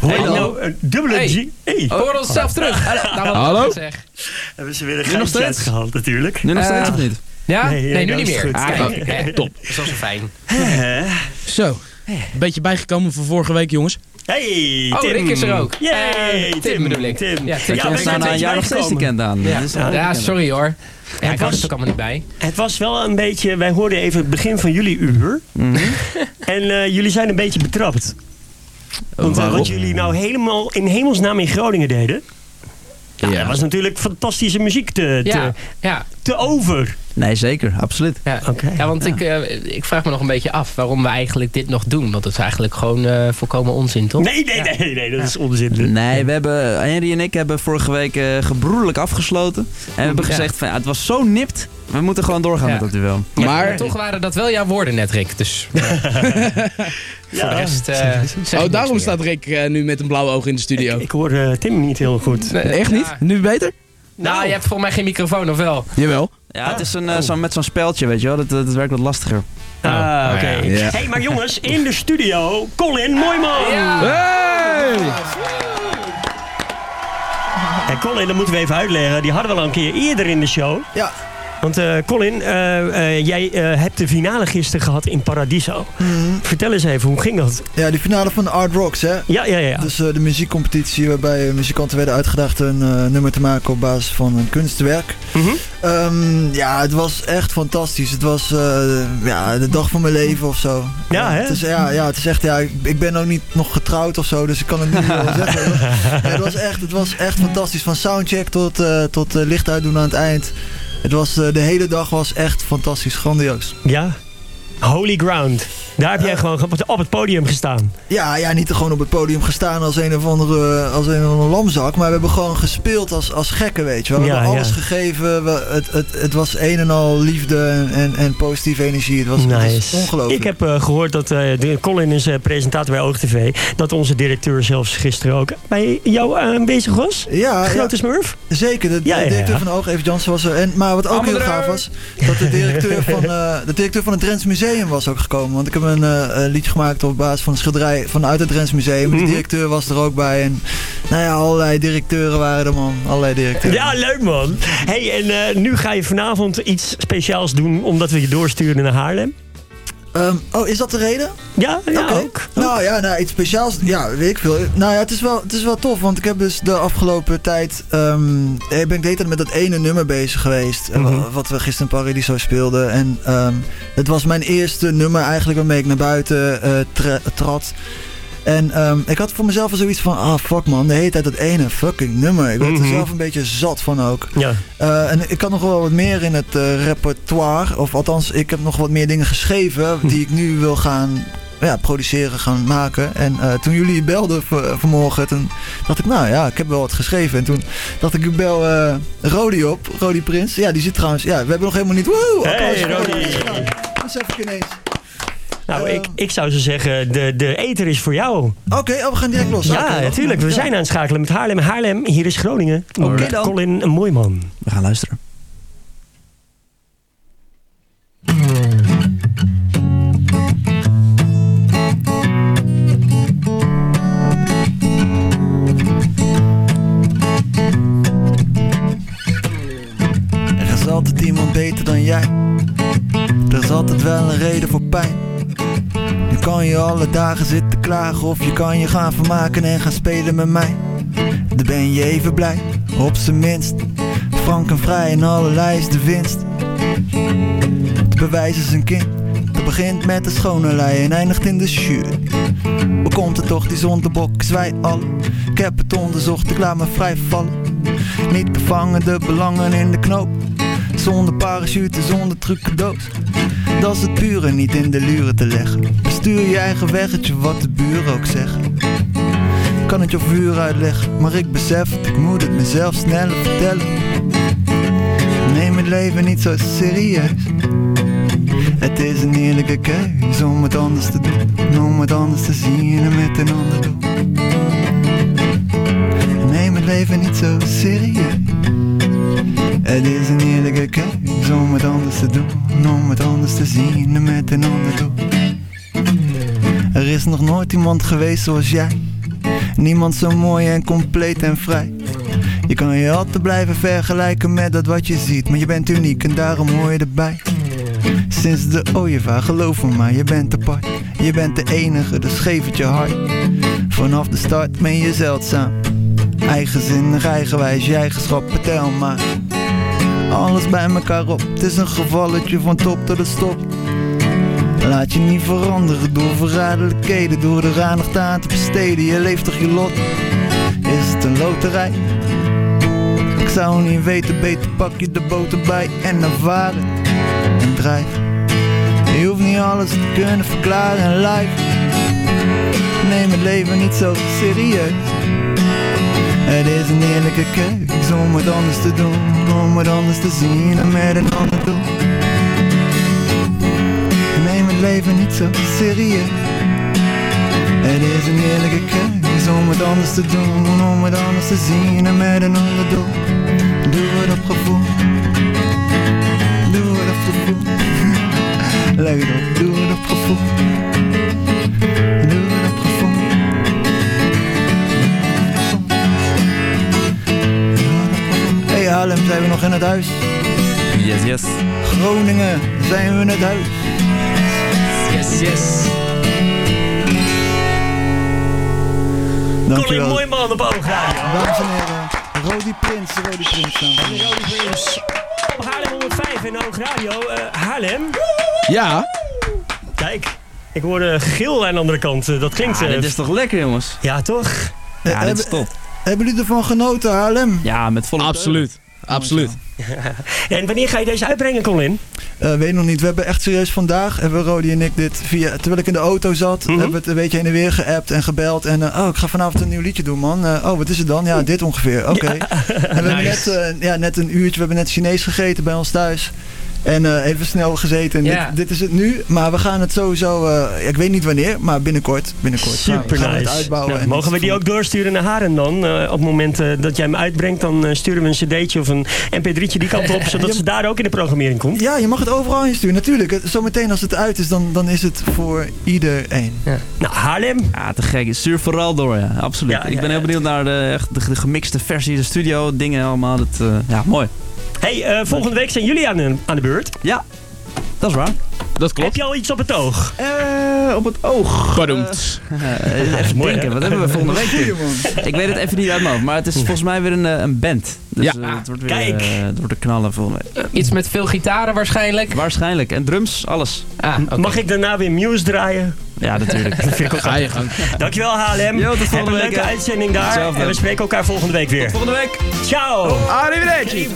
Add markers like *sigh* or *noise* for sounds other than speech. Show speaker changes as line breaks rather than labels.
Hoor
Hey,
je
nou,
nou, een dubbele
Hey. Oh.
G. Hey.
Hoor onszelf terug. Nou, wat
Hallo?
ik Zeg.
Hebben ze weer een
Nu nog
geintje
steeds?
uitgehaald natuurlijk.
Nu nog steeds
Eh,
of niet?
Ja?
Nee,
Nee,
nee,
nu
dat
niet
is
meer.
goed.
Ah,
Kijk,
kijk, hè.
top.
Dat is wel zo fijn.
Zo,
Eh.
een beetje bijgekomen van vorige week, jongens.
Hey,
Oh,
Tim.
Rick is er ook.
Yay,
Eh,
Tim.
Tim bedoel ik.
Tim.
Ja, Tim.
Ja,
Ja,
we
we
we
zijn
staan na
er
een jaar nog steeds te kennen aan.
Ja.
Dat is al
Ja,
bekend.
sorry hoor. Ja, ik was
was-
er ook allemaal niet bij.
Het was wel een beetje... Wij hoorden even het begin van jullie uur.
Mhm.
en eh, jullie zijn een beetje betrapt. Want eh,
Oh, Waarom?
wat jullie nou helemaal in hemelsnaam in Groningen deden... Ja,
Ja.
Dat was natuurlijk fantastische muziek te, te,
Ja, ja,
te over.
Nee, zeker, absoluut.
ja.
Oké.
ja want Ik, eh, ik vraag me nog een beetje af waarom we eigenlijk dit nog doen. Want het is eigenlijk gewoon eh, volkomen onzin, toch?
Nee, nee, nee, nee, dat is onzin.
Nee, we hebben, Henry en ik hebben vorige week eh, gebroedelijk afgesloten. En we hebben
Ja.
gezegd, van, ja, het was zo nipt, we moeten gewoon doorgaan
Ja.
met dat duel.
Ja, maar toch waren dat wel jouw woorden net, Rick. Dus
Ja,
de rest... eh, zeg ik
Oh,
niks
daarom
meer.
staat Rick eh, nu met een blauw oog in de studio.
Ik hoor eh, Tim niet heel goed.
Nee,
Eh, Echt
ja.
niet? Nu beter?
Nou, je hebt volgens mij geen microfoon, of wel?
Jawel. Ja,
Ah.
het is een, eh, zo, met zo'n speldje, weet je wel. Dat, dat, dat werkt wat lastiger.
Ah, oké.
ja. Ja.
Hey, maar jongens, in de studio, Colin Mooijman. En Colin, dat moeten we even uitleggen. Die hadden we al een keer eerder in de show.
Ja.
Want eh, Colin, eh, eh, jij eh, hebt de finale gisteren gehad in Paradiso. Vertel eens even, hoe ging dat?
Mhm. Ja, de finale van de Art Rocks, hè?
Ja, ja, ja.
Dus eh, de muziekcompetitie waarbij eh, muzikanten werden uitgedaagd een eh, nummer te maken op basis van een kunstwerk.
Mhm.
Ehm, ja, het was echt fantastisch. Het was eh, ja, de dag van mijn leven of zo.
Ja, hè?
Het is, ja, ja, het is echt, ja, ik, ik ben ook niet nog getrouwd of zo, dus ik kan het niet wel
*laughs*
zeggen. hoor. Ja, het, was echt, het was echt fantastisch. Van soundcheck tot, eh, tot eh, licht uitdoen aan het eind. Het was, eh, de hele dag was echt fantastisch, grandioos.
Ja. Holy ground. Daar heb jij gewoon ge- op het podium gestaan.
Ja, ja, niet gewoon op het podium gestaan als een of andere, als een of andere lamzak. Maar we hebben gewoon gespeeld als, als gekken, weet je wel. We
Ja,
hebben alles
ja.
gegeven. We, het, het, het was een en al liefde en, en, en positieve energie. Het was, het is ongelooflijk.
Ik heb eh, gehoord dat eh, de, Colin is eh, presentator bij OogTV. Dat onze directeur zelfs gisteren ook bij jou aanwezig was.
ja, ja,
Grote Smurf.
zeker. De, de
Ja, ja, ja.
directeur van Oog, even Jansen was er. En, maar wat ook heel gaaf was, dat de directeur,
*laughs*
van, eh, de directeur van het Drents Museum was ook gekomen. Want ik heb een eh, een liedje gemaakt op basis van een schilderij vanuit het Drents Museum. De
Mhm.
directeur was er ook bij. En nou ja, allerlei directeuren waren er, man. Allerlei directeuren.
Ja, leuk man. Hey, en eh, nu ga je vanavond iets speciaals doen omdat we je doorsturen naar Haarlem.
Ehm, oh, is dat de reden?
Ja, ja
Oké.
ook.
Nou ja, nou, iets speciaals. Ja, weet ik veel. Nou ja, het is, wel, het is wel tof, want ik heb dus de afgelopen tijd... ehm, eh, ben ik de hele tijd met dat ene nummer bezig geweest. eh,
Mhm.
wa- Wat we gisteren in Paradiso speelden. En ehm, het was mijn eerste nummer eigenlijk waarmee ik naar buiten eh, tra- trad. En ehm, ik had voor mezelf al zoiets van... Ah, fuck man, de hele tijd dat ene fucking nummer. Ik werd
Mhm.
er zelf een beetje zat van ook.
Ja.
Eh, en ik had nog wel wat meer in het eh, repertoire. Of althans, ik heb nog wat meer dingen
Hm.
geschreven die ik nu wil gaan ja, produceren, gaan maken. En eh, toen jullie belden v- eh, vanmorgen, toen dacht ik, nou ja, ik heb wel wat geschreven. En toen dacht ik, ik bel eh Rodi op, Rodi Prins. Ja, die zit trouwens, ja, we hebben nog helemaal niet, woehoe!
Hey,
applaus voor
Rodi.
Rodi. Ja, Dat zeg ik ineens.
Nou,
Eh,
ik, ik zou zo zeggen, de, de eter is voor jou.
Oké, oh, we gaan direct los. Oké,
Ja,
wacht.
natuurlijk. We
Ja.
zijn aan het schakelen met Haarlem. Haarlem, hier is Groningen.
Oké
Met
dan.
Colin, een mooi man.
We gaan luisteren.
Er is altijd iemand beter dan jij. Er is altijd wel een reden voor pijn. Je kan je alle dagen zitten klagen of je kan je gaan vermaken en gaan spelen met mij. Dan ben je even blij, op zijn minst. Frank en vrij en allerlei is de winst. Het bewijs is een kind. Dat begint met de schone lei en eindigt in de jury. Hoe komt het toch, die zondebok zwijt al? Ik heb het onderzocht, ik laat me vrij vallen. Niet bevangen de belangen in de knoop. Zonder parachute, zonder trucendoos. Dat is het pure, niet in de luren te leggen. Bestuur je eigen weggetje, wat de buren ook zeggen. Ik Kan het je vuur uitleggen, maar ik besef het, ik moet het mezelf sneller vertellen. Neem het leven niet zo serieus. Het is een eerlijke keus om het anders te doen, om het anders te zien en met een ander doen. Neem het leven niet zo serieus. Het is een eerlijke keus om het anders te doen, om het anders te zien en met een ander doen. Er is nog nooit iemand geweest zoals jij. Niemand zo mooi en compleet en vrij. Je kan je altijd blijven vergelijken met dat wat je ziet, maar je bent uniek en daarom hoor je erbij. Sinds de ooievaar, geloof me maar, je bent apart. Je bent de enige, dus geef het je hart. Vanaf de start ben je zeldzaam. Eigenzinnig, eigenwijs, je eigenschap, vertel maar. Alles bij elkaar op, het is een gevalletje van top tot de stop. Laat je niet veranderen door verraderlijkheden, door de aandacht aan te besteden. Je leeft toch je lot? Is het een loterij? Ik zou niet weten, beter pak je de boter bij en ervaar het en drijf. Je hoeft niet alles te kunnen verklaren en life. Neem het leven niet zo serieus. Het is een eerlijke keus om het anders te doen, om het anders te zien en met een ander doel. Neem het leven niet zo serieus. Het is een eerlijke keus om het anders te doen, om het anders te zien en met een ander doel. Doe het op gevoel, doe het op gevoel. *laughs* Leuk op, doe het op gevoel. Doe het op gevoel. Hey Haarlem, zijn we nog in het huis?
Yes, yes.
Groningen, zijn we in het huis?
Yes, yes.
Colin
Dankjewel.
Mooiman op Oogradio.
Dames en heren, Rodi Prins, Rodi Prins. dames en heren.
Op Haarlem 105 in Oogradio. Eh Haarlem.
Ja,
Kijk, ik hoorde gegil aan de andere kant. Eh, Dat klinkt...
Ja,
eh,
dit is toch lekker, jongens?
Ja, toch?
Ja, dit is
hebben,
top.
hebben jullie ervan genoten, Haarlem?
Ja, met volle
absoluut. Absoluut.
En wanneer ga je deze uitbrengen, Colin?
Eh, weet nog niet. We hebben echt serieus vandaag, hebben Rodi en ik dit via, terwijl ik in de auto zat,
Mhm.
hebben we het een beetje heen en weer geappt en gebeld. En eh, oh, ik ga vanavond een nieuw liedje doen, man. Eh, oh, wat is het dan? Ja, dit ongeveer.
*laughs*
Oké. En we hebben net, eh, ja, net een uurtje, we hebben net Chinees gegeten bij ons thuis. En eh, even snel gezeten. En
Ja.
Dit, dit is het nu, maar we gaan het sowieso, eh, ik weet niet wanneer, maar binnenkort. binnenkort gaan we-
Super
gaan we het
nice.
uitbouwen.
Nou,
en
mogen we
het-
die ook doorsturen naar Haren dan? Eh, op het moment eh, dat jij hem uitbrengt, dan eh, sturen we een cd'tje of een mp3'tje die kant op, zodat ze daar ook in de programmering komt.
Ja, je mag het overal insturen, natuurlijk. Het- Zometeen als het uit is, dan, dan is het voor iedereen.
Nou, Haarlem.
Ja, te gek. Stuur vooral door, ja. Absoluut.
Ja,
ik ben
ja,
heel
ja.
benieuwd naar de, echt de, de gemixte versie, de studio, dingen allemaal. Dat, eh, ja, mooi.
Hey, eh, volgende week zijn jullie aan de, aan de beurt.
Dat is waar.
Dat
Heb
klopt.
je al iets op het oog?
Eh, op het
*laughs*
oog.
Verdoemd.
Eh, even
Mooi,
denken,
hè?
wat hebben we volgende week?
Goeie, man.
Ik weet het even niet uit mijn hoofd, maar het is volgens mij weer een, eh, een band. Dus
Ja.
eh, het wordt weer,
Kijk.
eh, het wordt een knallen volgens mij.
Iets met veel gitaren waarschijnlijk.
Waarschijnlijk. En drums, alles.
Ah, oké.
Mag ik daarna weer Muse draaien?
Ja, natuurlijk.
Dat vind ik ook
Ga je
grappig.
gang.
Dankjewel Haarlem.
Jo, tot
Heb
volgende
een
week,
leuke
hè.
uitzending daar.
Hetzelfde.
En we spreken elkaar *laughs* volgende week weer.
volgende week.
Ciao!
Arrivederci.